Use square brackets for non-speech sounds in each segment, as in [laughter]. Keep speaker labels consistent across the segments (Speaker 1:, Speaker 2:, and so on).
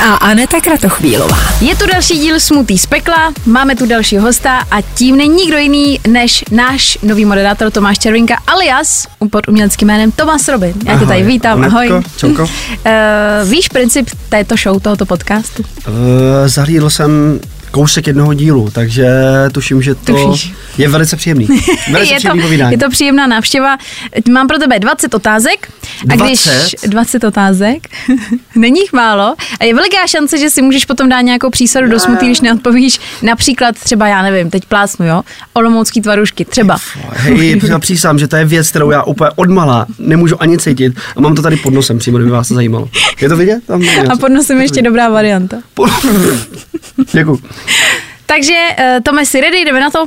Speaker 1: a Aneta Kratochvílová.
Speaker 2: Je tu další díl Smutý z pekla, máme tu další hosta a tím není nikdo jiný než náš nový moderátor Tomáš Červinka alias pod uměleckým jménem Tomas Robin. Já tě
Speaker 3: Ahoj,
Speaker 2: tady vítám,
Speaker 3: Anetko,
Speaker 2: ahoj.
Speaker 3: čauko.
Speaker 2: [laughs] Eh, víš princip této show, tohoto podcastu?
Speaker 3: Eh, zahlídl jsem kousek jednoho dílu, takže tuším, že to
Speaker 2: Tušíš.
Speaker 3: je velice příjemný.
Speaker 2: [laughs]
Speaker 3: Velice
Speaker 2: je, to,
Speaker 3: příjemný povídání.
Speaker 2: je to příjemná návštěva. Mám pro tebe 20 otázek. A když
Speaker 3: 20?
Speaker 2: 20 otázek, [laughs] není jich málo. A je veliká šance, že si můžeš potom dát nějakou přísadu do smutí, když neodpovíš. Například třeba, já nevím, teď plásnu, jo? Olomoucký tvarušky, třeba.
Speaker 3: Hej, já přísám, že to je věc, kterou já úplně odmala nemůžu ani cítit a mám to tady pod nosem přímo, kdyby vás to zajímalo. Je to vidět? Tam
Speaker 2: A pod nosem je ještě dobrá varianta.
Speaker 3: Pod... [laughs] Děkuju.
Speaker 2: Takže, eh, Tome, si ready, jdeme na to?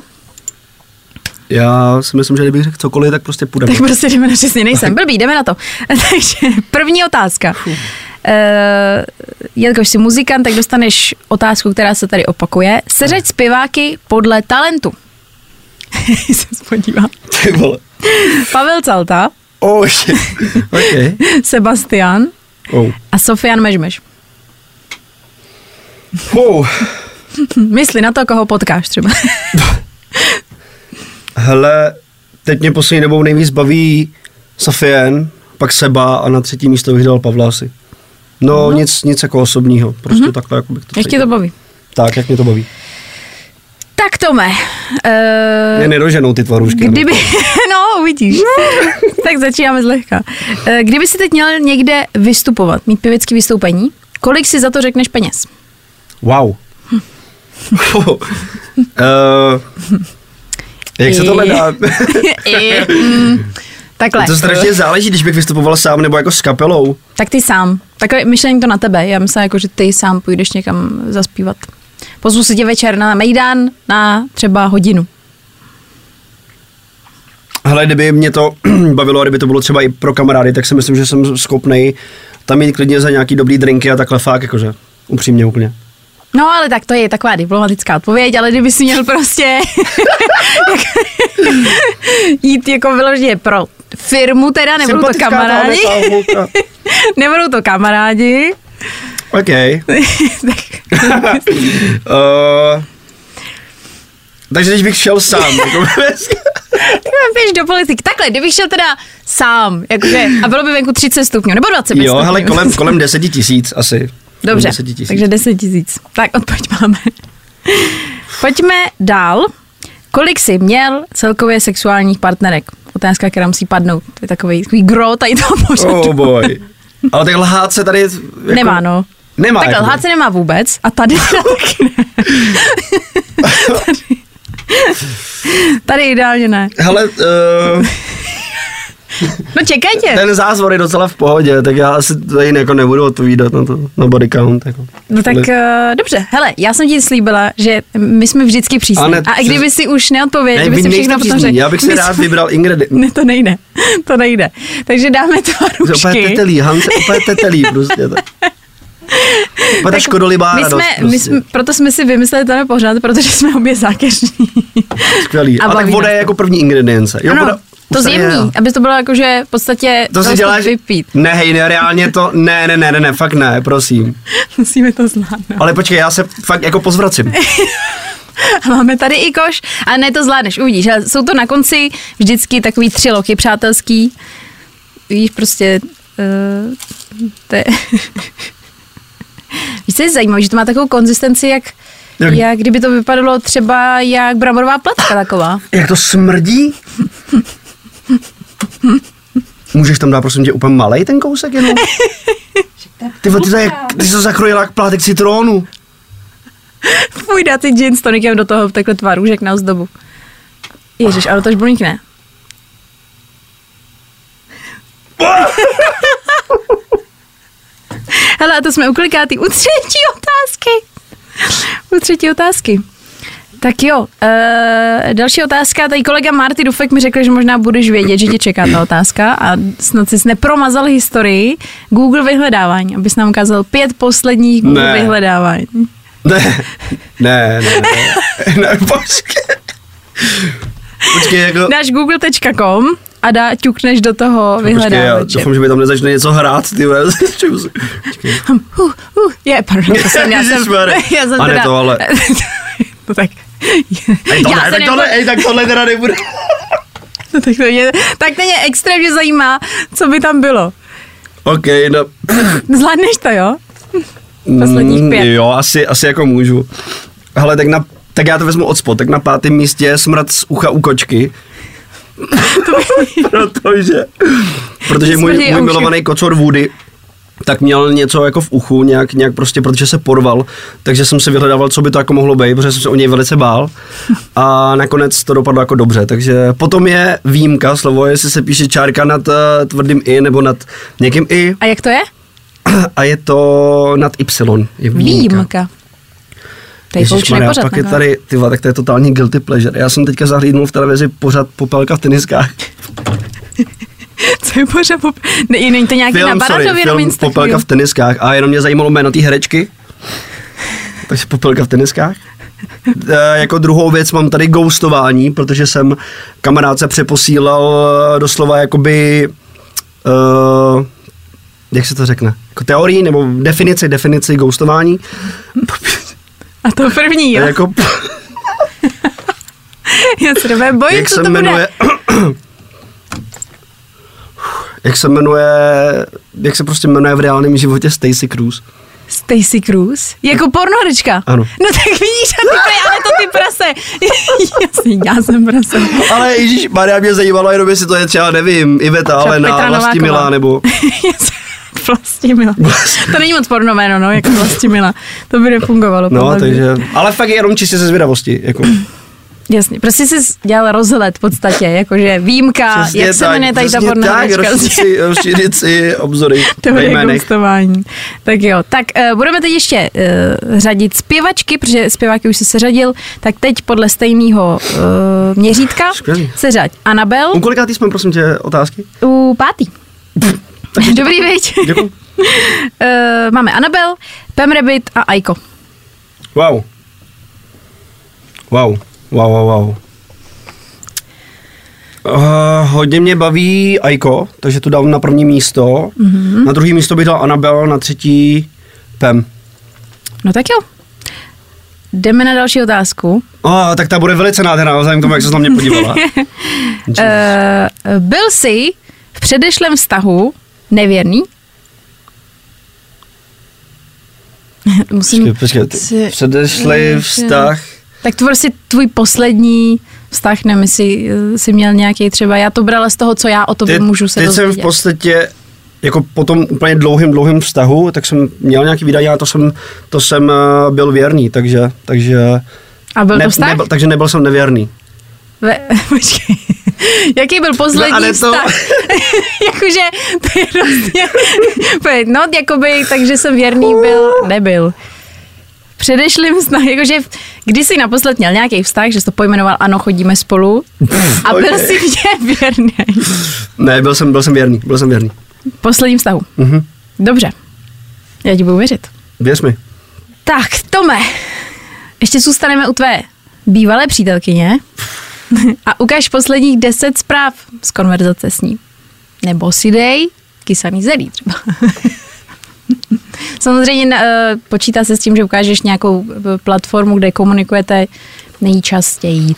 Speaker 3: Já si myslím, že kdybych řekl cokoliv, tak prostě půjdeme.
Speaker 2: Tak prostě jdeme na přesně, nejsem blbý, jdeme na to. [laughs] Takže první otázka. Uh, jelikož jsi muzikant, tak dostaneš otázku, která se tady opakuje. Seřeď zpěváky podle talentu. [laughs] se podívám.
Speaker 3: Ty vole.
Speaker 2: Pavel Calta, [laughs]
Speaker 3: Oh, shit. OK.
Speaker 2: Sebastian
Speaker 3: Oh.
Speaker 2: a Sofian Mežmeš.
Speaker 3: Oh.
Speaker 2: Hm, Mysli na to, koho potkáš třeba. [laughs]
Speaker 3: Hele, teď mě poslední dobou nejvíc baví Safien, pak Seba a na třetí místo bych dal Pavla asi. No, no. Nic, nic jako osobního, prostě mm-hmm. takhle, jako bych to
Speaker 2: Mhm. Jak tě to
Speaker 3: cítil.
Speaker 2: baví?
Speaker 3: Tak, jak mě to baví.
Speaker 2: Tak Tome, eh,
Speaker 3: Mě nedoženou ty tvarůžky.
Speaker 2: Kdyby, [laughs] no uvidíš, [laughs] tak začínáme zlehka. Eh, Kdyby si teď měl někde vystupovat, mít pěvecký vystoupení, kolik si za to řekneš
Speaker 3: [laughs]
Speaker 2: peněz? [laughs]
Speaker 3: Wow. uh, Eh, [laughs] jak se
Speaker 2: Eh. [laughs]
Speaker 3: to hledá?
Speaker 2: I, mm, takhle.
Speaker 3: to strašně záleží, když bych vystupoval sám nebo jako s kapelou.
Speaker 2: Tak ty sám. Takhle myšlení to na tebe. Já myslím, jako, že ty sám půjdeš někam zaspívat. Pozvu si tě večer na Mejdan na třeba hodinu.
Speaker 3: Hele, kdyby mě to [clears throat] bavilo a kdyby to bylo třeba i pro kamarády, tak si myslím, že jsem schopnej tam jít klidně za nějaký dobrý drinky a takhle fakt, jakože upřímně úplně.
Speaker 2: No ale tak to je taková diplomatická odpověď, ale kdyby si měl prostě [laughs] jít jako vyloženě pro firmu teda, nebudou to
Speaker 3: Sympatická
Speaker 2: kamarádi,
Speaker 3: tahle
Speaker 2: [laughs]
Speaker 3: holka.
Speaker 2: nebudou to kamarádi, [laughs]
Speaker 3: OK. Eh,
Speaker 2: tak
Speaker 3: Uh, takže když bych šel sám,
Speaker 2: [laughs]
Speaker 3: jako bez-
Speaker 2: běž do politik. Takhle, kdybych šel teda sám, jakože, a bylo by venku 30 stupňů, nebo 25
Speaker 3: jo,
Speaker 2: stupňů.
Speaker 3: hele, kolem, kolem 10 tisíc asi. Kolem
Speaker 2: [laughs] Dobře,
Speaker 3: 10 tisíc.
Speaker 2: takže 10 tisíc. Tak odpověď máme. [laughs] Pojďme dál. Kolik jsi měl celkově sexuálních partnerek? Otázka, která musí padnout. To je takový, takový gro tady toho pořadu.
Speaker 3: Oh boy. Ale tak lhát se tady... Jako,
Speaker 2: Nemá, no.
Speaker 3: Nemá. jako-
Speaker 2: Takhle,
Speaker 3: jakoby.
Speaker 2: lhát se nemá vůbec a tady [laughs] teda taky ne. tady, tady ideálně ne.
Speaker 3: Hele, uh,
Speaker 2: No čekajte.
Speaker 3: [laughs] ten zázvor je docela v pohodě, tak já asi tady jako nebudu odpovídat na to, na body count. Jako.
Speaker 2: No tak
Speaker 3: Ale-
Speaker 2: uh, dobře, hele, já jsem ti slíbila, že my jsme vždycky přísní.
Speaker 3: Ale-
Speaker 2: a i kdyby si už neodpověděl,
Speaker 3: Ne,
Speaker 2: eh, kdyby
Speaker 3: vy
Speaker 2: si
Speaker 3: nejste
Speaker 2: všechno potom
Speaker 3: přízní,
Speaker 2: řekl.
Speaker 3: já bych si
Speaker 2: my
Speaker 3: rád
Speaker 2: jsme-
Speaker 3: vybral
Speaker 2: [laughs]
Speaker 3: ingredienty.
Speaker 2: Ne, to nejde, [laughs] to nejde. Takže dáme
Speaker 3: To je Úplně
Speaker 2: tvarušky.
Speaker 3: tetelí, No, Hans, úplně tetelí prostě. Tak. Úplně ta škodolibá
Speaker 2: my jsme,
Speaker 3: radost.
Speaker 2: my
Speaker 3: prostě.
Speaker 2: jsme, proto jsme si vymysleli tenhle pořád, protože jsme obě zákeřní.
Speaker 3: Skvělý.
Speaker 2: A
Speaker 3: A, a tak
Speaker 2: baví
Speaker 3: voda
Speaker 2: nás
Speaker 3: je
Speaker 2: to.
Speaker 3: jako první ingredience. Jo,
Speaker 2: ano,
Speaker 3: voda,
Speaker 2: to
Speaker 3: už tady je,
Speaker 2: zjemní,
Speaker 3: jo.
Speaker 2: aby to bylo jakože v podstatě
Speaker 3: To si
Speaker 2: prostě
Speaker 3: děláš...
Speaker 2: vypít. [laughs]
Speaker 3: Ne, hej, ne, reálně to, ne, ne, ne, ne, ne, fakt ne, prosím.
Speaker 2: Musíme to zvládnout.
Speaker 3: Ale počkej, já se fakt jako pozvracím.
Speaker 2: A [laughs] máme tady i koš, a ne to zvládneš, uvidíš. Ale jsou to na konci vždycky takový tři loky přátelský. Víš, prostě... Uh, to je... [laughs] Víš, co je zajímavé, že to má takovou konzistenci, jak,
Speaker 3: Jak-
Speaker 2: jak? jak kdyby to vypadalo třeba jak bramborová placka taková.
Speaker 3: Jak to smrdí? Můžeš tam dát, prosím tě, úplně malej ten
Speaker 2: [laughs]
Speaker 3: kousek jenom? Ty, vole, ty, to je, ty jsi to zakrojila jak plátek citrónu.
Speaker 2: Fuj, dát si gin s tonikem do toho takhle tvar růžek na ozdobu. Ježíš, ale to už [laughs] blunkne. Hele, a to jsme u kolikátý? U třetí otázky. třetí otázky. Tak jo, e, další otázka. Tady kolega Marty Dufek mi řekl, že možná budeš vědět, že tě čeká ta otázka a snad jsi nepromazal historii Google vyhledávání, abys nám ukázal pět posledních Google
Speaker 3: Ne.
Speaker 2: vyhledávání.
Speaker 3: Ne, ne, ne, ne, ne počkej. Počkej, jako...
Speaker 2: Dáš google.com a dá, ťukneš do toho
Speaker 3: No, Počkej, já
Speaker 2: vyhledávače.
Speaker 3: doufám, že mi tam nezačne něco hrát, ty vole. [laughs]
Speaker 2: Uh, uh, je, pardon, to jsem, já jsem,
Speaker 3: Ježišmarja.
Speaker 2: [laughs] já jsem
Speaker 3: A ne
Speaker 2: teda,
Speaker 3: to, ale.
Speaker 2: [laughs] no tak,
Speaker 3: Ej, to
Speaker 2: já
Speaker 3: ne,
Speaker 2: se
Speaker 3: tak
Speaker 2: nepo-
Speaker 3: tohle, ej, tak tohle teda nebude.
Speaker 2: [laughs]
Speaker 3: [laughs]
Speaker 2: No tak, to mě, tak to mě extrémně zajímá, co by tam bylo.
Speaker 3: OK, no.
Speaker 2: Zvládneš to, jo? Posledních
Speaker 3: Mm,
Speaker 2: pět.
Speaker 3: Jo, asi, asi jako můžu. Hele, tak, na, tak já to vezmu od spod. Tak na pátém místě je smrad z ucha
Speaker 2: [laughs]
Speaker 3: u kočky. protože, protože můj,
Speaker 2: Smrdí
Speaker 3: můj
Speaker 2: uši.
Speaker 3: milovaný kocour Woody tak měl něco jako v uchu, nějak, nějak prostě, protože se porval, takže jsem si vyhledával, co by to jako mohlo být, protože jsem se o něj velice bál a nakonec to dopadlo jako dobře, takže potom je výjimka, slovo, jestli se píše čárka nad eh, tvrdým i nebo nad někým i
Speaker 2: A jak to je?
Speaker 3: a je to nad y, je výjimka.
Speaker 2: Výjimka. To je no. poučený
Speaker 3: Ježišmarja,
Speaker 2: pořad.
Speaker 3: pak je
Speaker 2: takhle. [laughs]
Speaker 3: tady, ty vole, tak to je totální guilty pleasure. Já jsem teďka zahlídnul v televizi pořád popelka v teniskách.
Speaker 2: [laughs] Co je pořad? pop- Ne, není to nějaký na
Speaker 3: Film, sorry,
Speaker 2: Baradově na
Speaker 3: film Popelka v teniskách a jenom mě zajímalo jméno té herečky. Takže Popelka v teniskách. E, jako druhou věc mám tady ghostování, protože jsem kamarádce přeposílal eh, doslova jakoby, uh, jak se to řekne, jako teorii nebo definici, definici ghostování.
Speaker 2: A to první, jo?
Speaker 3: Jako,
Speaker 2: [laughs] Já se dobře bojím,
Speaker 3: jak
Speaker 2: co
Speaker 3: se
Speaker 2: to
Speaker 3: jmenuje... [clears throat]
Speaker 2: bude.
Speaker 3: jak se jmenuje, jak se prostě jmenuje v reálném životě Stacy Cruz.
Speaker 2: Stacy Cruz? Jako pornohrdečka?
Speaker 3: Ano.
Speaker 2: No tak vidíš, a ty, pre- ale to ty prase. [laughs] Jasně, já jsem prase.
Speaker 3: Ale Ježíš, Maria mě zajímalo, jenom jestli to je třeba, nevím, Iveta,
Speaker 2: Třeba Petra
Speaker 3: Alena, Vlastimila,
Speaker 2: Nováková. [laughs]
Speaker 3: nebo...
Speaker 2: Vlastimila. To není moc porno jméno, no, jako Vlastimila. To by nefungovalo.
Speaker 3: No,
Speaker 2: podle mě.
Speaker 3: takže... Ale fakt jenom čistě ze zvědavosti, jako.
Speaker 2: Jasně, prostě jsi dělal rozhled v podstatě, jakože výjimka,
Speaker 3: Přesně
Speaker 2: jak se
Speaker 3: tak,
Speaker 2: jmenuje tady ta
Speaker 3: přesně tak,
Speaker 2: pornohrdečka.
Speaker 3: rozšířit si- rozšířit si obzory ve
Speaker 2: Teorie
Speaker 3: jménech.
Speaker 2: ghostování. Tak jo, tak uh, budeme teď ještě uh, řadit zpěvačky, protože zpěváky už se seřadil, tak teď podle stejného uh, měřítka
Speaker 3: Skvělý.
Speaker 2: seřaď Anabel
Speaker 3: U kolikátý jsme, prosím tě, otázky?
Speaker 2: u
Speaker 3: [laughs]
Speaker 2: pátý. Dobrý viď?
Speaker 3: Děkuji.
Speaker 2: Eh, máme Anabel, Pam Rabbit a Aiko.
Speaker 3: Wow. Wow, wow, wow, wow. Uh, hodně mě baví Aiko, takže tu dám na první místo.
Speaker 2: Mhm.
Speaker 3: Mm-hmm. Na druhý místo bych dal Anabel, na třetí Pem.
Speaker 2: No tak jo. Jdeme na další otázku.
Speaker 3: Oh, tak ta bude velice nádherná, vzhledem k tomu, jak se na mě podívala.
Speaker 2: [laughs] Eh, byl jsi v předešlém vztahu nevěrný? [laughs] Musím...
Speaker 3: počkej, počkej, ty-
Speaker 2: si-
Speaker 3: předešlej vztah.
Speaker 2: Tak to prostě tvůj poslední vztah, nevím, jestli eh, jsi měl nějaký třeba, já to brala z toho, co já o tobě
Speaker 3: Teď,
Speaker 2: můžu se
Speaker 3: teď jsem v
Speaker 2: dozvědět.
Speaker 3: podstatě jako po tom úplně dlouhým, dlouhým vztahu, tak jsem měl nějaký výdaje a to jsem, to jsem eh, byl věrný, takže, takže,
Speaker 2: A byl to vztah?
Speaker 3: nebyl, takže nebyl jsem nevěrný.
Speaker 2: Ve, [laughs] počkej. Jaký byl
Speaker 3: No,
Speaker 2: poslední
Speaker 3: ale
Speaker 2: no,
Speaker 3: to-
Speaker 2: vztah? [laughs] Jakože, to je hrozně... Pojď, No, jakoby, takže jsem věrný byl, nebyl. Předešlým vztah, jakože když jsi naposled měl nějaký vztah, že jsi to pojmenoval, ano, chodíme spolu, a byl
Speaker 3: Ok.
Speaker 2: jsi mě věrný.
Speaker 3: Ne, byl jsem, byl jsem věrný, byl jsem věrný.
Speaker 2: Posledním vztahu.
Speaker 3: Mhm.
Speaker 2: Dobře. Já ti budu věřit.
Speaker 3: Věř mi.
Speaker 2: Tak, Tome, ještě zůstaneme u tvé bývalé přítelkyně [laughs] a ukáž posledních deset zpráv z konverzace s ní. Nebo si dej kysaný zelí třeba. [laughs] Samozřejmě na- eh, počítá se s tím, že ukážeš nějakou eh, platformu, kde komunikujete nejčastěji.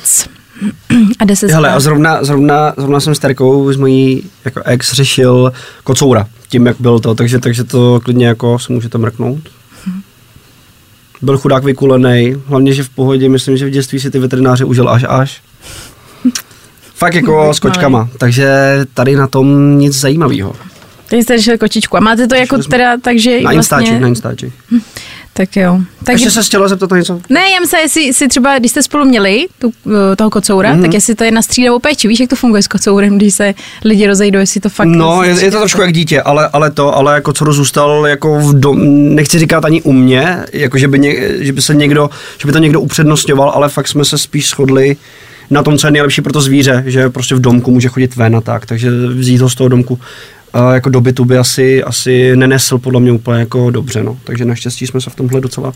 Speaker 2: [clears throat] A deset
Speaker 3: Hele, a
Speaker 2: zpráv.
Speaker 3: zrovna, zrovna, zrovna jsem s Terkou, s mojí jako ex, řešil kocoura, tím, jak byl to, takže, takže to klidně jako se můžete mrknout. Byl chudák vykulený, hlavně, že v pohodě, myslím, že v dětství si ty veterináře užil až až. Fakt jako s kočkama, takže tady na tom nic zajímavého.
Speaker 2: Teď jste řešil kočičku. A máte to jako
Speaker 3: Řešili jsme-
Speaker 2: teda, takže
Speaker 3: Na
Speaker 2: vlastně...
Speaker 3: Instači, na Instači.
Speaker 2: Tak jo.
Speaker 3: Tak
Speaker 2: Tak
Speaker 3: Ještě se chtěla zeptat na něco.
Speaker 2: Ne, já myslím, jestli si třeba, když jste spolu měli tu, eh, toho kocoura,
Speaker 3: Mhm.
Speaker 2: mm-hmm. tak jestli to je na střídavou péči. Víš, jak to funguje s kocourem, když se lidi rozejdou, jestli to fakt...
Speaker 3: No,
Speaker 2: jestli
Speaker 3: je, je, to trošku jak dítě, ale, ale to, ale jako co zůstal jako v dom, nechci říkat ani u mě, jako že by, ně, že by se někdo, že by to někdo upřednostňoval, ale fakt jsme se spíš shodli na tom, co je nejlepší pro to zvíře, že prostě v domku může chodit ven a tak, takže vzít ho z toho domku a jako do bytu by asi, asi nenesl podle mě úplně jako dobře, no. Takže naštěstí jsme se v tomhle docela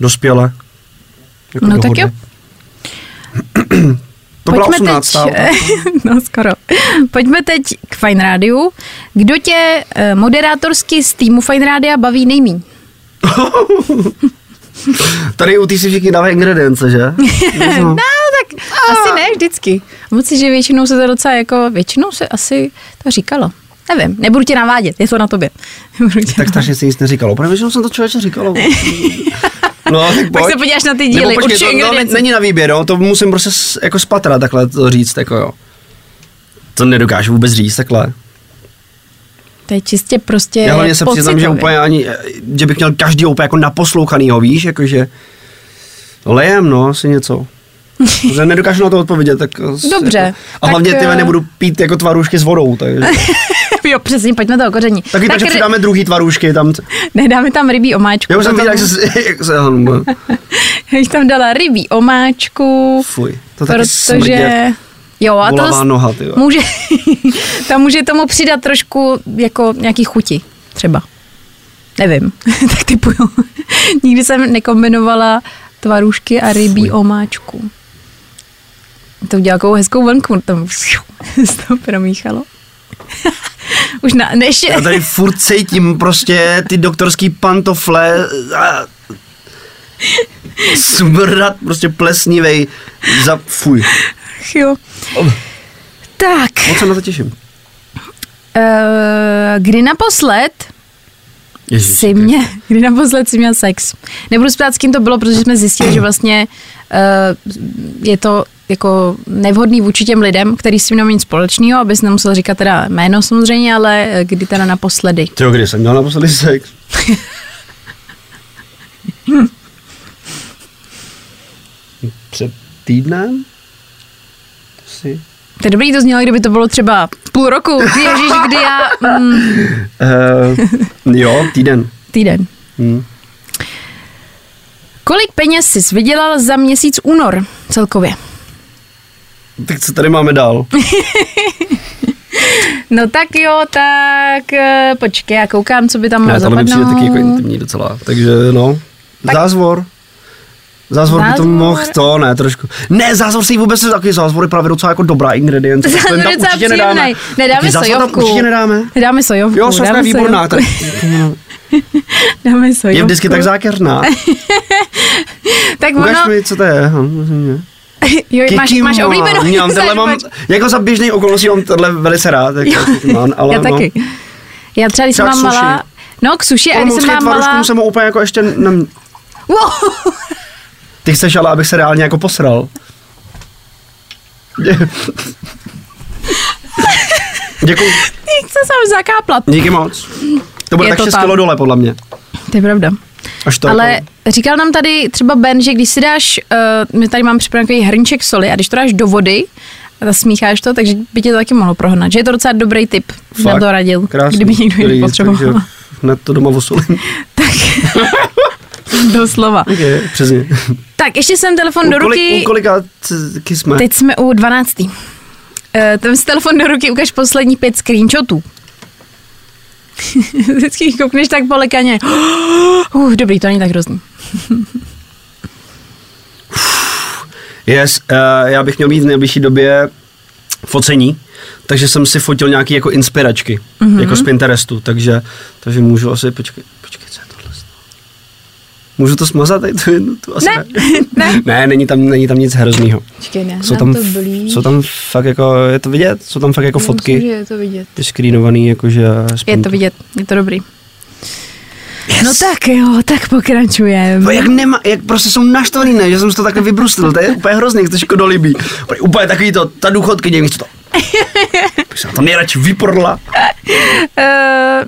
Speaker 3: dospěle. Jako
Speaker 2: No tak
Speaker 3: dohodli.
Speaker 2: jo.
Speaker 3: To byla 18. otázka.
Speaker 2: [laughs] no skoro. Pojďme teď k Fine Rádiu. Kdo tě eh, moderátorsky z týmu Fine Rádia baví nejmíň?
Speaker 3: Tady u ty si všichni dávají ingredience, že?
Speaker 2: [laughs]
Speaker 3: Mhm.
Speaker 2: No, tak asi ne vždycky. Moc si, že většinou se to docela jako, většinou se asi to říkalo. Nevím, nebudu tě navádět, je to na tobě. [laughs] Nebudu tě
Speaker 3: Tak strašně se nic neříkalo. Protože většinou jsem to člověče říkalo. No, tak
Speaker 2: Pak
Speaker 3: pojď.
Speaker 2: se podíváš na ty díly,
Speaker 3: Nebo počkej,
Speaker 2: určitě
Speaker 3: to, to ne,
Speaker 2: ingredience.
Speaker 3: není na výběr, no, to musím prostě s- jako spatrat takhle to říct, jako jo. To nedokážu vůbec říct takhle.
Speaker 2: To je čistě prostě
Speaker 3: Já hlavně se
Speaker 2: pocitově.
Speaker 3: přiznám, že úplně ani, že bych měl každý úplně jako naposlouchanýho, víš, jakože lejem, no,
Speaker 2: [laughs]
Speaker 3: asi něco. Že nedokážu na to odpovědět, tak... asi
Speaker 2: Dobře,
Speaker 3: Jako, a
Speaker 2: tak,
Speaker 3: hlavně ty
Speaker 2: eh,
Speaker 3: nebudu pít jako tvarůžky s
Speaker 2: [laughs]
Speaker 3: vodou, takže...
Speaker 2: jo, přesně, pojďme to okoření.
Speaker 3: Taky tak, takže
Speaker 2: ry-
Speaker 3: přidáme druhý tvarůžky tam.
Speaker 2: Ne, dáme tam rybí omáčku.
Speaker 3: Já už jsem
Speaker 2: potom-
Speaker 3: viděl, jak se... [laughs] Jak se
Speaker 2: [laughs] Já jich tam dala rybí omáčku.
Speaker 3: fuj, to taky smrdí jak-
Speaker 2: protože... Jo, a to
Speaker 3: Bolavá
Speaker 2: s-
Speaker 3: noha, ty jo.
Speaker 2: může, [laughs] tam může tomu přidat trošku jako nějaký chuti, třeba. Nevím, [laughs] tak typuju. Nikdy jsem nekombinovala tvarůžky a rybí
Speaker 3: Fuj.
Speaker 2: omáčku. To udělal takovou hezkou vlnku, tam [laughs] se to promíchalo. [laughs] Už na, ne, ještě,
Speaker 3: Já tady furt cítím prostě ty doktorský pantofle a smrdat prostě plesnivej za fuj.
Speaker 2: jo. Tak.
Speaker 3: Moc se na to těším.
Speaker 2: Eh, kdy naposled
Speaker 3: Ježiš,
Speaker 2: si mě, [laughs] kdy naposled si měl sex? Nebudu se ptát, s kým to bylo, protože jsme zjistili, že vlastně uh, je to jako nevhodný vůči těm lidem, který s tím nemají nic společného, abys nemusel říkat teda jméno samozřejmě, ale eh, kdy teda naposledy.
Speaker 3: Ty jo, kdy jsem měl
Speaker 2: [laughs]
Speaker 3: naposledy sex? Před týdnem? Asi.
Speaker 2: To je dobrý, to znělo, kdyby to bylo třeba půl roku, ježíš, kdy já, mm,
Speaker 3: Uh, jo, týden.
Speaker 2: týden.
Speaker 3: Hm.
Speaker 2: Kolik peněz jsi vydělal za měsíc únor celkově?
Speaker 3: Tak co tady máme dál?
Speaker 2: No tak jo, tak eh, počkej, já koukám, co by tam mohlo
Speaker 3: Ne, tohle mi přijde
Speaker 2: Mm, zapadnout.
Speaker 3: taky jako
Speaker 2: [laughs]
Speaker 3: intimní docela. Takže no,
Speaker 2: Tak-
Speaker 3: zázvor. Zázvor, by to
Speaker 2: Zázvor.
Speaker 3: mohl, to ne, trošku. Ne, zázvor si vůbec takový zázvor je právě docela jako dobrá ingredience.
Speaker 2: Zázvor
Speaker 3: Takovým
Speaker 2: je docela
Speaker 3: určitě
Speaker 2: příjemnej.
Speaker 3: nedáme.
Speaker 2: Nedáme
Speaker 3: Taky zázvor tam
Speaker 2: sojovku.
Speaker 3: určitě nedáme.
Speaker 2: Dáme sojovku.
Speaker 3: Jo, sojovka
Speaker 2: dáme
Speaker 3: je výborná.
Speaker 2: sojovku.
Speaker 3: Tak,
Speaker 2: [laughs] Dáme sojovku.
Speaker 3: je vždycky tak zákeřná.
Speaker 2: Tak
Speaker 3: [laughs] Ukaž
Speaker 2: ono, [laughs]
Speaker 3: mi, co to je. Hm, hm,
Speaker 2: jo, máš,
Speaker 3: Kikimán.
Speaker 2: máš oblíbenou.
Speaker 3: Mám, tenhle mám,
Speaker 2: zažvačku.
Speaker 3: jako za běžný okolností mám tenhle velice rád. Jako, Kikimán, ale
Speaker 2: Já
Speaker 3: no.
Speaker 2: taky. Já třeba, když jsem
Speaker 3: Třeba
Speaker 2: mám
Speaker 3: k suši.
Speaker 2: malá... No, k suši, a
Speaker 3: Tomu
Speaker 2: když jsem mám malá...
Speaker 3: tvarožkům jsem ho úplně jako ještě... Nem...
Speaker 2: Wow, [laughs]
Speaker 3: Ty chceš ale, abych se reálně jako posral. Dě- Děkuji.
Speaker 2: jak se jsem zakápla.
Speaker 3: Díky moc. To bude
Speaker 2: Je
Speaker 3: tak
Speaker 2: to
Speaker 3: 6
Speaker 2: tam.
Speaker 3: kilo dole, podle mě.
Speaker 2: To je pravda.
Speaker 3: Až to
Speaker 2: Ale
Speaker 3: jako...
Speaker 2: říkal nám tady třeba Ben, že když si dáš, uh, my tady mám připravený takový hrnček soli a když to dáš do vody, a zasmícháš to, takže by tě to taky mohlo prohnat. Že je to docela dobrý tip, Fakt? nám to radil,
Speaker 3: krásný.
Speaker 2: kdyby někdo
Speaker 3: Dobrý,
Speaker 2: jiný potřeboval.
Speaker 3: takže Hned to doma osolím.
Speaker 2: [laughs]
Speaker 3: [laughs]
Speaker 2: Doslova.
Speaker 3: Okay, přesně.
Speaker 2: Tak, ještě jsem telefon do
Speaker 3: U kolik-
Speaker 2: ruky.
Speaker 3: U kolika c- ky jsme?
Speaker 2: Teď jsme u 12. Eh, Tam si telefon do ruky, ukaž poslední pět screenshotů. [laughs] Vždycky jich koukneš tak polekaně. [gasps] Uh, dobrý, to není tak hrozný.
Speaker 3: Yes, uh, já bych měl mít v nejbližší době focení, takže jsem si fotil nějaký jako inspiračky,
Speaker 2: Mhm.
Speaker 3: mm-hmm. jako z Pinterestu, takže, takže můžu asi, počkej, počkej, co je tohle? Můžu to smazat tady tu jednu? Tu asi
Speaker 2: Ne, ne. [laughs]
Speaker 3: ne, není tam, není tam nic hroznýho.
Speaker 2: Počkej, ne,
Speaker 3: Jsou tam, jsou tam fakt jako, je to vidět? Jsou tam fakt jako fotky
Speaker 2: je to vidět.
Speaker 3: screenovaný, jakože...
Speaker 2: Je to vidět, je to dobrý. Yes. No tak jo, tak pokračujeme.
Speaker 3: No jak, nema, jak prostě jsou naštvaný, ne, že jsem si to takhle vybruslil, to je úplně hrozný, jak to škodolíbí. Úplně takový to, ta důchodkyně, víš co to. Bych se na to nejradši vyprodla.
Speaker 2: Eh,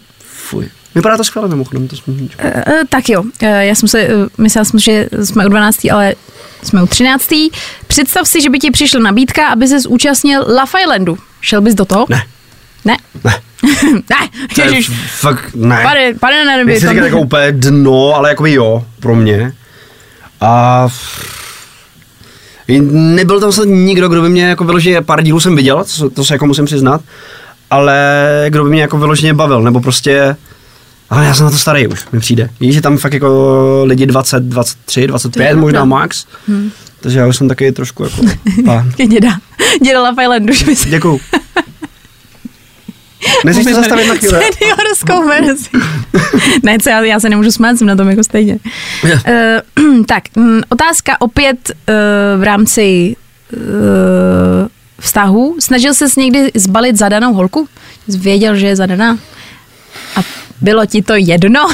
Speaker 3: Fuj. Vypadá to skvěle mimochodem, to sluníčko.
Speaker 2: Eh, tak jo, Eh, já jsem se, eh, myslela jsem, že jsme u 12, ale jsme u 13. Představ si, že by ti přišla nabídka, aby se zúčastnil Love Islandu. Šel bys do toho?
Speaker 3: Ne,
Speaker 2: Ne? [laughs]
Speaker 3: ne.
Speaker 2: ne,
Speaker 3: To je
Speaker 2: ježiš.
Speaker 3: f- fakt ne.
Speaker 2: Pane, pane na nebi.
Speaker 3: Nechci
Speaker 2: tam-
Speaker 3: říkat jako úplně dno, ale jako by jo, pro mě. A nebyl tam snad nikdo, kdo by mě jako vyloženě, pár dílů jsem viděl, to, se- to se jako musím přiznat, ale kdo by mě jako vyloženě bavil, nebo prostě, ale já jsem na to starý už, mi přijde. Víš, že tam fakt jako lidi 20, 23, 25
Speaker 2: pravda.
Speaker 3: možná max, hmm. takže já už jsem taky trošku jako pán.
Speaker 2: Děda. Děda Love Islandu, že by se...
Speaker 3: Děkuju. Nechceš mě zastavit
Speaker 2: [laughs]
Speaker 3: na chvíli?
Speaker 2: Seniorskou verzi. [laughs] ne, co, já, já se nemůžu smát, jsem na tom jako stejně. Uh, [clears throat] tak, mm, otázka opět uh, v rámci uh, vztahu. Snažil ses někdy zbalit zadanou holku? Jsi Věděl, že je zadaná? A bylo ti to jedno?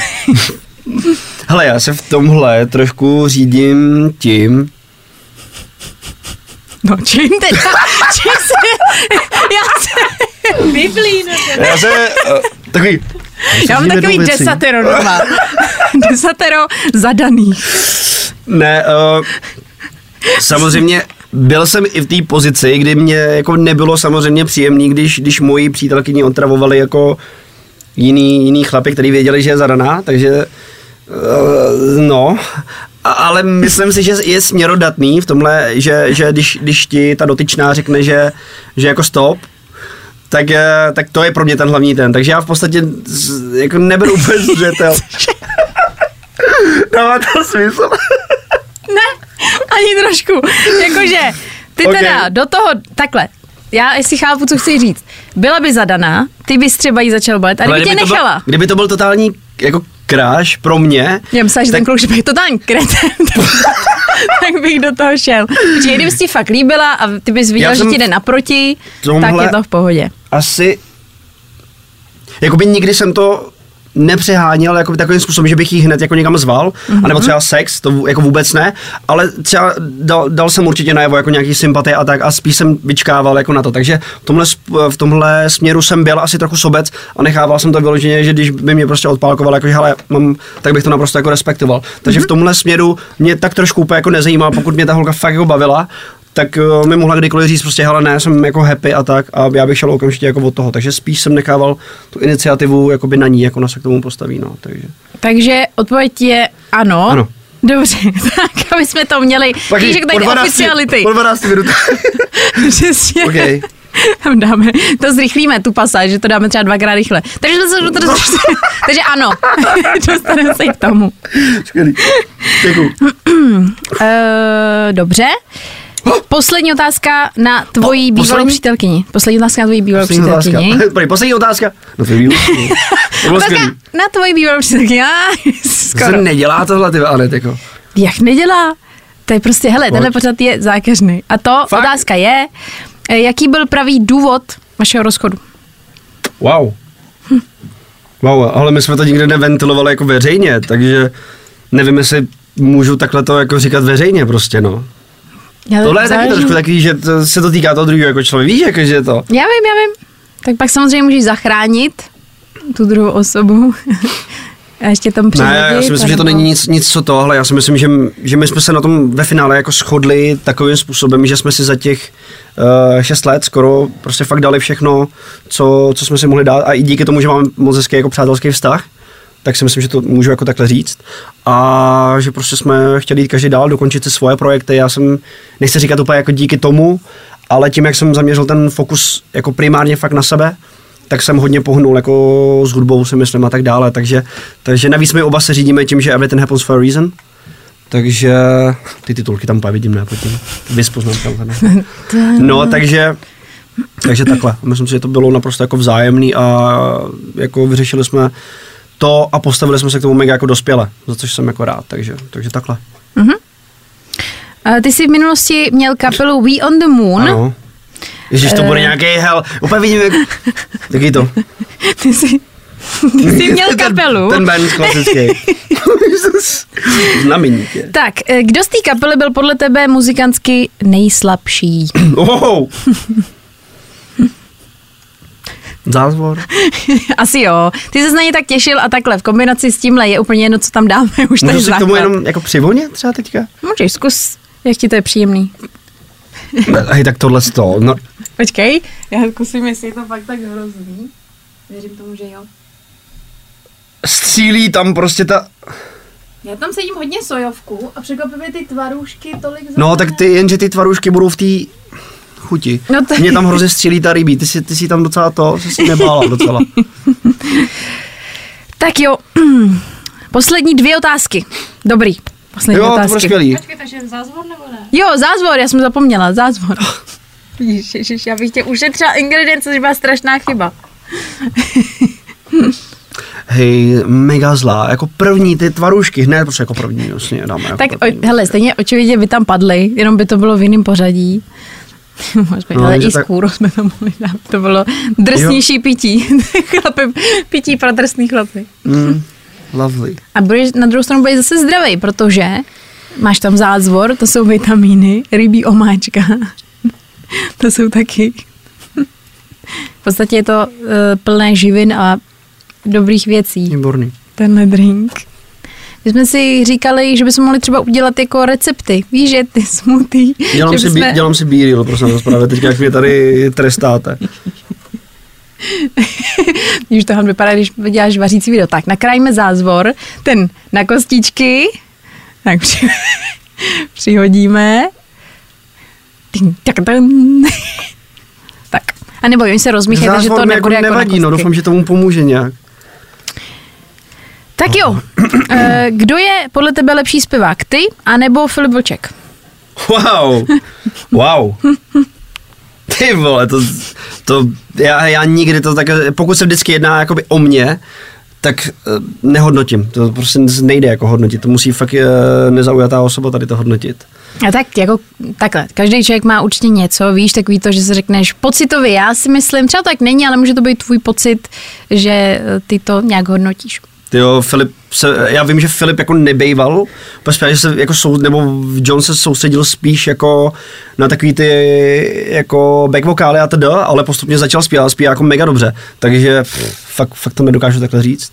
Speaker 2: [laughs]
Speaker 3: Hele, já se v tomhle trošku řídím tím,
Speaker 2: no čím teda? [laughs] Čím se... [laughs] Já se... Biblín.
Speaker 3: Já se, uh, takový,
Speaker 2: Já mám
Speaker 3: Řídím
Speaker 2: takový
Speaker 3: jednou věcí.
Speaker 2: desatero doma. [laughs] desatero zadaných.
Speaker 3: ne, uh, samozřejmě byl jsem i v té pozici, kdy mě jako nebylo samozřejmě příjemný, když, když moji přítelkyni otravovali jako jiný, jiný chlapy, který věděli, že je zadaná, takže uh, no, A- ale myslím si, že je směrodatný v tomhle, že, že když, když ti ta dotyčná řekne, že, že jako stop, tak, eh, tak to je pro mě ten hlavní ten. Takže já v podstatě z- jako neberu úplně zřetel. Dává to smysl.
Speaker 2: Ne, [laughs] ani trošku. Jakože, ty okay.
Speaker 3: Ok.
Speaker 2: teda do toho, takhle, já jestli chápu, co chci říct. Byla by zadaná, ty bys třeba jí začal balit, a
Speaker 3: Ale
Speaker 2: kdyby tě
Speaker 3: to byl,
Speaker 2: nechala.
Speaker 3: kdyby to byl totální jako kráš pro mě,
Speaker 2: Já myslím, že
Speaker 3: tak-
Speaker 2: ten kluk, že bych totální kreten, [laughs] tak bych do toho šel. Protože kdyby jsi ti fakt líbila a ty bys viděl,
Speaker 3: Já
Speaker 2: že
Speaker 3: jsem
Speaker 2: ti jde naproti,
Speaker 3: tomhle-
Speaker 2: tak je to v pohodě.
Speaker 3: asi... Jakoby nikdy jsem to nepřeháněl jakoby takovým způsobem, že bych ji hned jako někam zval, mm-hmm. anebo třeba sex, to vů- jako vůbec ne, ale třeba dal, dal jsem určitě najevo jako nějaký sympatie a tak a spíš jsem vyčkával jako na to, takže v tomhle, sp- v tomhle směru jsem byl asi trochu sobec a nechával jsem to vyloženě, že když by mě prostě odpálkoval, jako, že hele, mám, tak bych to naprosto jako respektoval. Takže mm-hmm. v tomhle směru mě tak trošku úplně jako nezajímal, pokud mě ta holka fakt jako bavila, tak eh, mi mohla kdykoliv říct prostě, hele ne, jsem jako happy a tak a já bych šel okamžitě jako od toho, takže spíš jsem nechával tu iniciativu jakoby na ní, jak ona se k tomu postaví, no, takže.
Speaker 2: Takže odpověď je ano.
Speaker 3: Ano.
Speaker 2: Dobře, [laughs] tak aby jsme to měli. Víš, jak tady oficiality.
Speaker 3: po 12 minut.
Speaker 2: [laughs] Přesně.
Speaker 3: Okej.
Speaker 2: Tam dáme, to zrychlíme, tu pasáž, že to dáme třeba dvakrát rychle. Takže,
Speaker 3: [laughs]
Speaker 2: takže ano, [laughs] dostaneme se i k tomu.
Speaker 3: [laughs] Skvělý. Děkuju.
Speaker 2: Eh, dobře. Poslední otázka na tvoji
Speaker 3: Po-
Speaker 2: bývalou
Speaker 3: poslední?
Speaker 2: přítelkyni. Poslední otázka na tvoji bývalou
Speaker 3: Poslední otázka.
Speaker 2: přítelkyni.
Speaker 3: [laughs] Prý, poslední otázka. No, to je [laughs] To bylo
Speaker 2: Otázka
Speaker 3: skvělý.
Speaker 2: na tvoji bývalou přítelkyni. Ah,
Speaker 3: To se
Speaker 2: [laughs] skoro.
Speaker 3: nedělá tohle, ty Anet, jako.
Speaker 2: Jak nedělá? To je prostě, hele, tenhle pořad je zákeřný. A to
Speaker 3: Fakt?
Speaker 2: otázka je, eh, jaký byl pravý důvod vašeho rozchodu?
Speaker 3: Wow. Wow, ale my jsme to nikdy neventilovali jako veřejně, takže nevím, jestli můžu takhle to jako říkat veřejně prostě, no.
Speaker 2: Já
Speaker 3: Tohle je taky
Speaker 2: záleží.
Speaker 3: trošku takový, že to, se to týká toho druhého jako člověk. Víš, jako, že to.
Speaker 2: Já vím, já vím. Tak pak samozřejmě můžeš zachránit tu druhou osobu. [laughs] A ještě tam přihodit.
Speaker 3: Ne, já si myslím,
Speaker 2: no.
Speaker 3: že to není nic, nic co tohle. Já si myslím, že, že my jsme se na tom ve finále jako shodli takovým způsobem, že jsme si za těch uh, šest let skoro prostě fakt dali všechno, co, co jsme si mohli dát. A i díky tomu, že máme moc hezký jako přátelský vztah, tak si myslím, že to můžu jako takhle říct. A že prostě jsme chtěli jít každý dál, dokončit si svoje projekty. Já jsem, nechci říkat úplně jako díky tomu, ale tím, jak jsem zaměřil ten fokus jako primárně fakt na sebe, tak jsem hodně pohnul jako s hudbou, si myslím a tak dále, takže, takže navíc my oba se řídíme tím, že everything happens for a reason, takže ty titulky tam pak vidím, ne, pod tím vyspoznám tam. ne. No, takže, takže takhle. Myslím si, že to bylo naprosto jako vzájemný a jako vyřešili jsme to a postavili jsme se k tomu mega jako dospěle, za což jsem jako rád, takže, takže takhle.
Speaker 2: A Ty jsi v minulosti měl kapelu We on the Moon.
Speaker 3: Ano. Ježíš, to bude nějaký hell, úplně vidím, jak... Taky to.
Speaker 2: [laughs] Ty jsi, ty jsi měl
Speaker 3: [laughs] Ten-
Speaker 2: kapelu.
Speaker 3: Ten band
Speaker 2: [laughs]
Speaker 3: klasický. Znamenitě.
Speaker 2: Tak, eh, kdo z té kapely byl podle tebe muzikantsky nejslabší?
Speaker 3: Ohoho. Zázvor.
Speaker 2: [laughs] Asi jo. Ty se na ně tak těšil a takhle v kombinaci s tímhle je úplně jedno, co tam dáme. Už to je
Speaker 3: Můžu si k tomu
Speaker 2: základ.
Speaker 3: jenom jako přivonět třeba teďka?
Speaker 2: Můžeš, zkus, jak ti to je příjemný.
Speaker 3: Ne, Hej, tak tohle z toho. No,
Speaker 2: Počkej, já zkusím, jestli je to fakt tak hrozný. Věřím tomu, že jo.
Speaker 3: střílí tam prostě ta...
Speaker 2: Já tam sedím hodně sojovku a překvapivě ty tvarůšky tolik
Speaker 3: No, tak ty, jenže ty tvarušky budou v té chuti.
Speaker 2: No to-
Speaker 3: Mě tam hrozně střílí ta rybí, ty si, ty si tam docela to, se si nebála
Speaker 2: [laughs]
Speaker 3: docela.
Speaker 2: Tak jo, [clears throat] poslední dvě otázky. Dobrý, poslední
Speaker 3: jo, to prostě bylo
Speaker 2: otázky.
Speaker 3: skvělý.
Speaker 2: jo, zázvor, já jsem zapomněla,
Speaker 3: [laughs]
Speaker 2: zázvor. Vidíš, ježiš, já bych tě ušetřila ingredience, což byla strašná chyba.
Speaker 3: Hej, mega zlá, jako první ty tvarušky, hned prostě jako první, jasně, dáme jako
Speaker 2: Tak,
Speaker 3: první.
Speaker 2: o, hele, stejně očividně by tam padly, jenom by to bylo v jiném pořadí. [laughs] Možná,
Speaker 3: No,
Speaker 2: ale
Speaker 3: jenže
Speaker 2: i
Speaker 3: tak-
Speaker 2: skůru [laughs] jsme tam mohli dát. To bylo drsnější pití. [laughs] Chlapy, pití pro drsný chlapy.
Speaker 3: Mm, lovely.
Speaker 2: A budeš, na druhou stranu budeš zase zdravý, protože máš tam zázvor, to jsou vitamíny, rybí omáčka. [laughs] to jsou taky. v podstatě je to uh, plné živin a dobrých věcí
Speaker 3: Výborný.
Speaker 2: tenhle drink. My jsme si říkali, že bychom mohli třeba udělat jako recepty. Víš, že ty smutý.
Speaker 3: Dělám
Speaker 2: že
Speaker 3: si, bí, dělám si bíril, prosím vás, právě teď, jak mě tady trestáte.
Speaker 2: Už tohle vypadá, když děláš vařící video. Tak nakrájíme zázvor, ten na kostičky. Tak při, [laughs] přihodíme. Ting, tak, tam. tak. A nebo oni se rozmíchají, takže to
Speaker 3: Zázvor mi jako
Speaker 2: nebude jako na
Speaker 3: nevadí, no
Speaker 2: kostky.
Speaker 3: doufám, že tomu pomůže nějak.
Speaker 2: Tak
Speaker 3: [clears throat]
Speaker 2: jo, Eh, kdo je podle tebe lepší zpěvák? Ty, anebo Filip Vlček?
Speaker 3: Wow, wow. [laughs] Ty vole, to, to já, já nikdy to tak, pokud se vždycky jedná jakoby o mě, tak eh, nehodnotím, to prostě nejde jako hodnotit, to musí fakt eh, nezaujatá osoba tady to hodnotit.
Speaker 2: A tak jako takhle, každý člověk má určitě něco, víš, takový to, že si řekneš pocitově, já si myslím, třeba to tak není, ale může to být tvůj pocit, že eh, ty to nějak hodnotíš.
Speaker 3: Ty jo, Filip se, já vím, že Filip jako nebejval, prostě, že se jako sou, nebo John se soustředil spíš jako na takový ty jako back vokály a teda, ale postupně začal zpívat, zpívá jako mega dobře, takže pff, fakt, fakt to nedokážu takhle říct.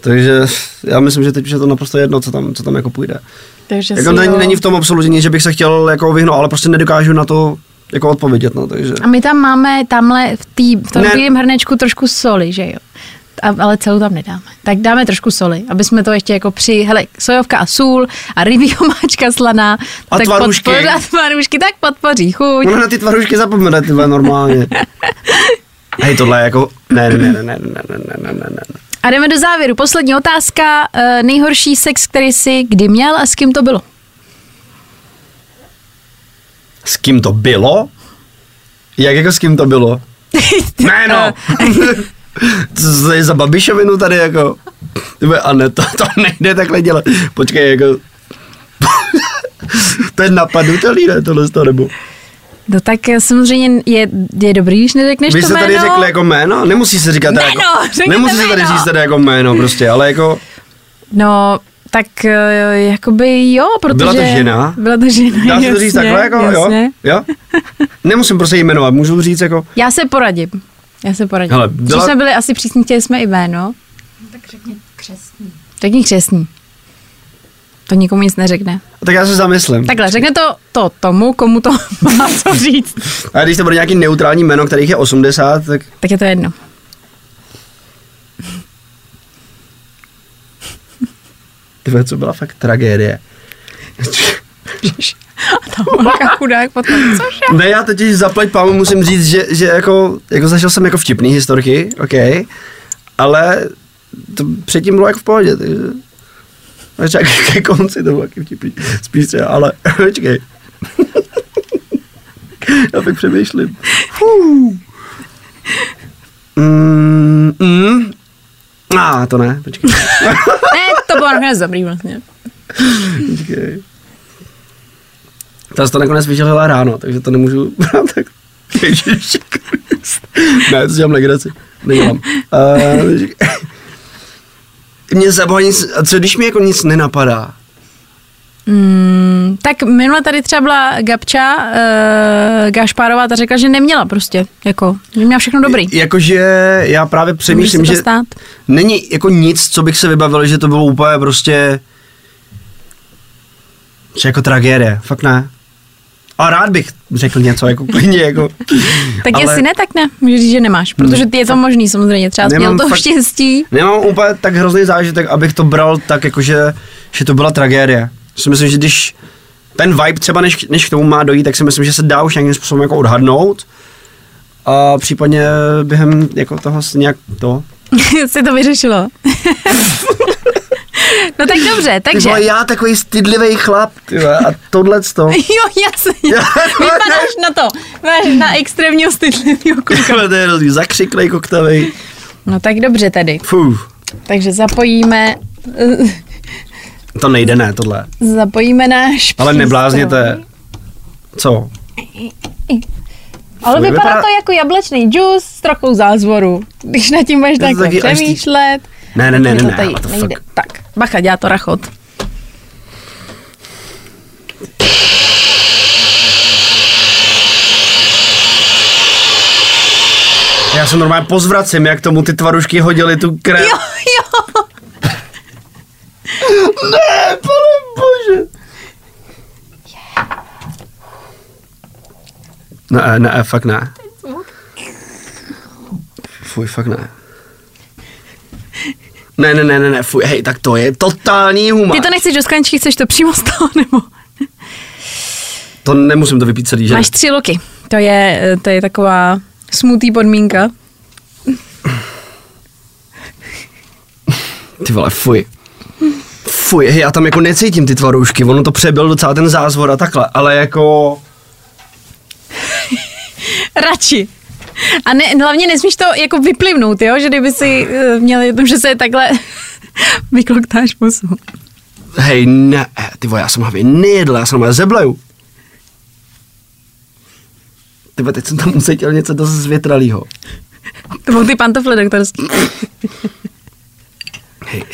Speaker 3: Takže já myslím, že teď už je to naprosto jedno, co tam, co tam jako půjde.
Speaker 2: Takže
Speaker 3: Jako není, není, v tom absolutně nic, že bych se chtěl jako vyhnout, ale prostě nedokážu na to jako odpovědět, no, takže.
Speaker 2: A my tam máme tamhle v, tý, v tom
Speaker 3: Ne.
Speaker 2: bílém hrnečku trošku soli, že jo? A, ale celou tam nedáme. Tak dáme trošku soli, aby jsme to ještě jako při, hele, sojovka a sůl a rybí omáčka slaná.
Speaker 3: A
Speaker 2: tak
Speaker 3: tvarůžky. No,
Speaker 2: podpoří- A tvarůžky, tak podpoří chuť.
Speaker 3: Ono na ty tvarušky zapomene, ty vole, normálně. Hej, tohle je jako, ne, ne, ne, ne, ne, ne, ne, ne, ne, ne.
Speaker 2: A jdeme do závěru. Poslední otázka. Eh, Nejhorší sex, který jsi kdy měl a s kým to bylo?
Speaker 3: S kým to bylo? Jak jako s kým
Speaker 2: [laughs]
Speaker 3: to bylo? ne no! Co to je za babišovinu tady jako? Ty vole, A ne, to, to nejde takhle dělat. Počkej, jako... [laughs] to je napadutelný, ne, tohle z toho nebo?
Speaker 2: No tak eh, samozřejmě je, je dobrý, když neřekneš
Speaker 3: Vy
Speaker 2: to
Speaker 3: jste
Speaker 2: jméno.
Speaker 3: tady řekli jako jméno? Nemusí se říkat teda
Speaker 2: Jméno,
Speaker 3: jako,
Speaker 2: řekněte
Speaker 3: Nemusí se tady
Speaker 2: jméno.
Speaker 3: říct tady jako jméno prostě, ale jako...
Speaker 2: No, tak eh, jakoby jo, protože...
Speaker 3: Byla to žena?
Speaker 2: Byla to žena,
Speaker 3: Dá
Speaker 2: jasně,
Speaker 3: se to říct takhle jako,
Speaker 2: jasně.
Speaker 3: jo? Jo? Nemusím prostě jmenovat, můžu říct jako...
Speaker 2: Já se poradím. Já se poradím.
Speaker 3: Hele,
Speaker 2: Hele,
Speaker 3: byla-
Speaker 2: byla... Když jsme byli asi přísní, chtěli jsme i jméno. Tak řekni křesní. Řekni křesní. To nikomu nic neřekne.
Speaker 3: Tak já se zamyslím.
Speaker 2: Takhle, řekne to, to tomu, komu to [laughs] má co říct.
Speaker 3: A když to bude nějaký neutrální jméno, kterých je 80, tak
Speaker 2: Tak je to [laughs] jedno.
Speaker 3: Ty vole, co byla fakt tragédie.
Speaker 2: Ta holka chudák potom, cože?
Speaker 3: Ne, já teď zaplať pámu musím říct, že, že jako, jako zažil jsem jako vtipný historky, OK, ale to předtím bylo jako v pohodě, takže až tak [laughs] ke konci to bylo taky vtipný, spíš třeba, ale [laughs] počkej. já tak přemýšlím. Fú. Mm, mm. A ah, to ne, počkej,
Speaker 2: Ne, to bylo nakonec dobrý vlastně.
Speaker 3: počkej. Ta jsi to nakonec vyželila ráno, takže to nemůžu [laughs] brát tak. Ježiši Krist. Ne, to dělám legraci. Nedělám. [laughs] Uh, mě zabaví nic, a co když mi jako nic nenapadá?
Speaker 2: Mm, Tak minule tady třeba byla Gabča uh, Gašpárová, ta řekla, že neměla prostě, jako, že měla všechno dobrý.
Speaker 3: Jakože já právě přemýšlím,
Speaker 2: se to
Speaker 3: že
Speaker 2: stát?
Speaker 3: není jako nic, co bych se vybavil, že to bylo úplně prostě že jako tragédie, fakt ne. A rád bych řekl něco, jako klidně, jako.
Speaker 2: Tak
Speaker 3: ale Hmm.
Speaker 2: jestli ne, tak ne, můžeš říct, že nemáš, protože ty je to možný samozřejmě, třeba jsi
Speaker 3: Nemám
Speaker 2: měl to
Speaker 3: fakt-
Speaker 2: štěstí. [laughs]
Speaker 3: Nemám úplně tak hrozný zážitek, abych to bral tak, jakože, že to byla tragédie. Si myslím, že když ten vibe třeba, než, než k tomu má dojít, tak si myslím, že se dá už nějakým způsobem jako odhadnout. A případně během jako toho se nějak to.
Speaker 2: se to vyřešilo. [laughs] no tak dobře,
Speaker 3: Ty
Speaker 2: takže...
Speaker 3: vole, já takový stydlivý chlap, ty vole, a tohle to.
Speaker 2: [laughs] Jo,
Speaker 3: [laughs]
Speaker 2: jasně. Vypadáš na to. Máš na extrémního stydlivého kluka.
Speaker 3: Takhle to je rozdíl, zakřiklej koktavej.
Speaker 2: No tak dobře tedy.
Speaker 3: Fů,
Speaker 2: Takže zapojíme, [laughs]
Speaker 3: to nejde ne, tohle.
Speaker 2: zapojíme náš
Speaker 3: Ale
Speaker 2: přístroj.
Speaker 3: neblázněte. Co?
Speaker 2: Ale vypadá,
Speaker 3: Fuj, vypadá-
Speaker 2: to jako jablečný džus s trochou zázvoru. Když nad tím budeš
Speaker 3: To je
Speaker 2: takhle
Speaker 3: taky až ty-
Speaker 2: přemýšlet.
Speaker 3: Ne, ne,
Speaker 2: tak
Speaker 3: ne, ne,
Speaker 2: mi to
Speaker 3: ne,
Speaker 2: tady
Speaker 3: what the fuck.
Speaker 2: nejde. Tak, bacha, dělá to rachot.
Speaker 3: Já se normálně pozvracím, jak tomu ty tvarušky hodili tu krev.
Speaker 2: Jo, jo.
Speaker 3: Ne, pane bože. Ne, ne, fakt ne. Fuj, fakt ne. Ne, ne, ne, ne, ne, fuj, hej, tak to je totální humor.
Speaker 2: Ty to nechceš do skleničky, chceš to přímo z toho, nebo?
Speaker 3: to nemusím to vypít celý, že?
Speaker 2: Máš tři loky. To je, eh, to je taková smutý podmínka.
Speaker 3: Ty vole, fuj. Fuj, hej, já tam jako necítím ty tvaroušky, ono to přebyl docela ten zázvor a takhle, ale jako...
Speaker 2: Radši. A ne, hlavně nesmíš to jako vyplivnout, jo? Že kdyby si eh, měl jednou, že se je takhle [laughs] vykloktáš pusu.
Speaker 3: Hej, ne, eh, ty vole, já jsem hlavně nejedl, já jsem hlavně zebleju. Ty vole, teď jsem tam ucítil něco dost zvětralýho.
Speaker 2: To byl ty pantofle doktorský.
Speaker 3: Hej.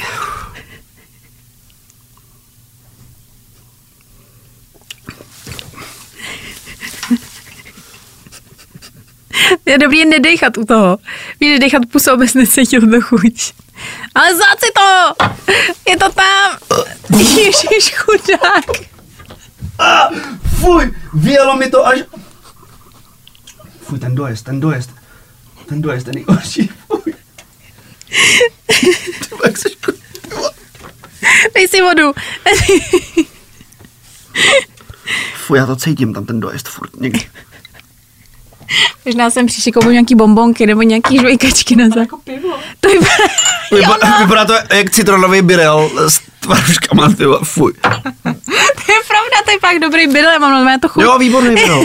Speaker 2: Je dobrý je nedejchat u toho. Víš, že dechat pusu, abys necítil do chuť. Ale zát si to! Je to tam! Ježíš chudák!
Speaker 3: A, fuj, vyjelo mi to až... Fuj, ten dojezd, ten dojezd. Ten dojezd, ten nejhorší, fuj. Ty vole, jak seš ku- ty vole.
Speaker 2: Dej si vodu.
Speaker 3: Fuj, já to cítím tam ten dojezd furt někdy.
Speaker 2: Možná jsem příště koupil nějaký bombonky nebo nějaký žvejkačky na zá... To je no.
Speaker 3: Vypadá, vypadá to jak citronový birel s tvaruškama, ty vole, fuj.
Speaker 2: To [laughs] je pravda, to je pak dobrý bydl, já mám normálně to chuť.
Speaker 3: Jo, výborný birel.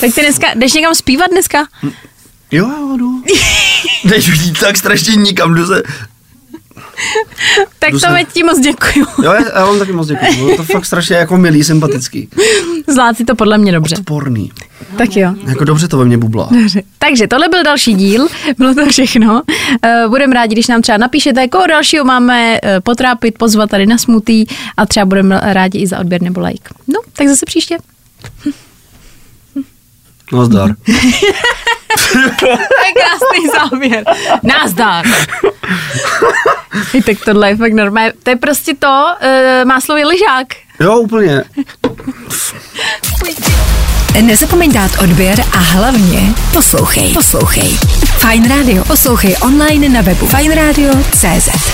Speaker 2: Tak ty dneska, jdeš někam zpívat dneska?
Speaker 3: Jo, jo, jdu. Jdeš vždyť tak strašně nikam, jdu se...
Speaker 2: Tak
Speaker 3: Jdu
Speaker 2: to
Speaker 3: sem.
Speaker 2: mi ti moc děkuju. [laughs]
Speaker 3: Jo, já, já vám taky moc děkuji, bylo to fakt strašně jako milý, sympatický.
Speaker 2: Zláci to podle mě dobře.
Speaker 3: Odporný.
Speaker 2: Tak jo.
Speaker 3: Jako dobře to ve mně bublá.
Speaker 2: Dobře. Takže tohle byl další díl, [laughs] bylo to všechno. Eh, Budeme rádi, když nám třeba napíšete, koho dalšího máme eh, potrápit, pozvat tady na smutý a třeba budeme rádi i za odběr nebo like. No, tak zase příště.
Speaker 3: No zdar.
Speaker 2: [laughs] To je krásný závěr. Nazdar. [laughs] I tak tohle je fakt normálně. To je prostě to, eh, má slovy lyžák.
Speaker 3: Jo, úplně.
Speaker 1: Nezapomeň dát odběr a hlavně poslouchej. Poslouchej. Fine Radio. Poslouchej online na webu. Fine Radio. CZ.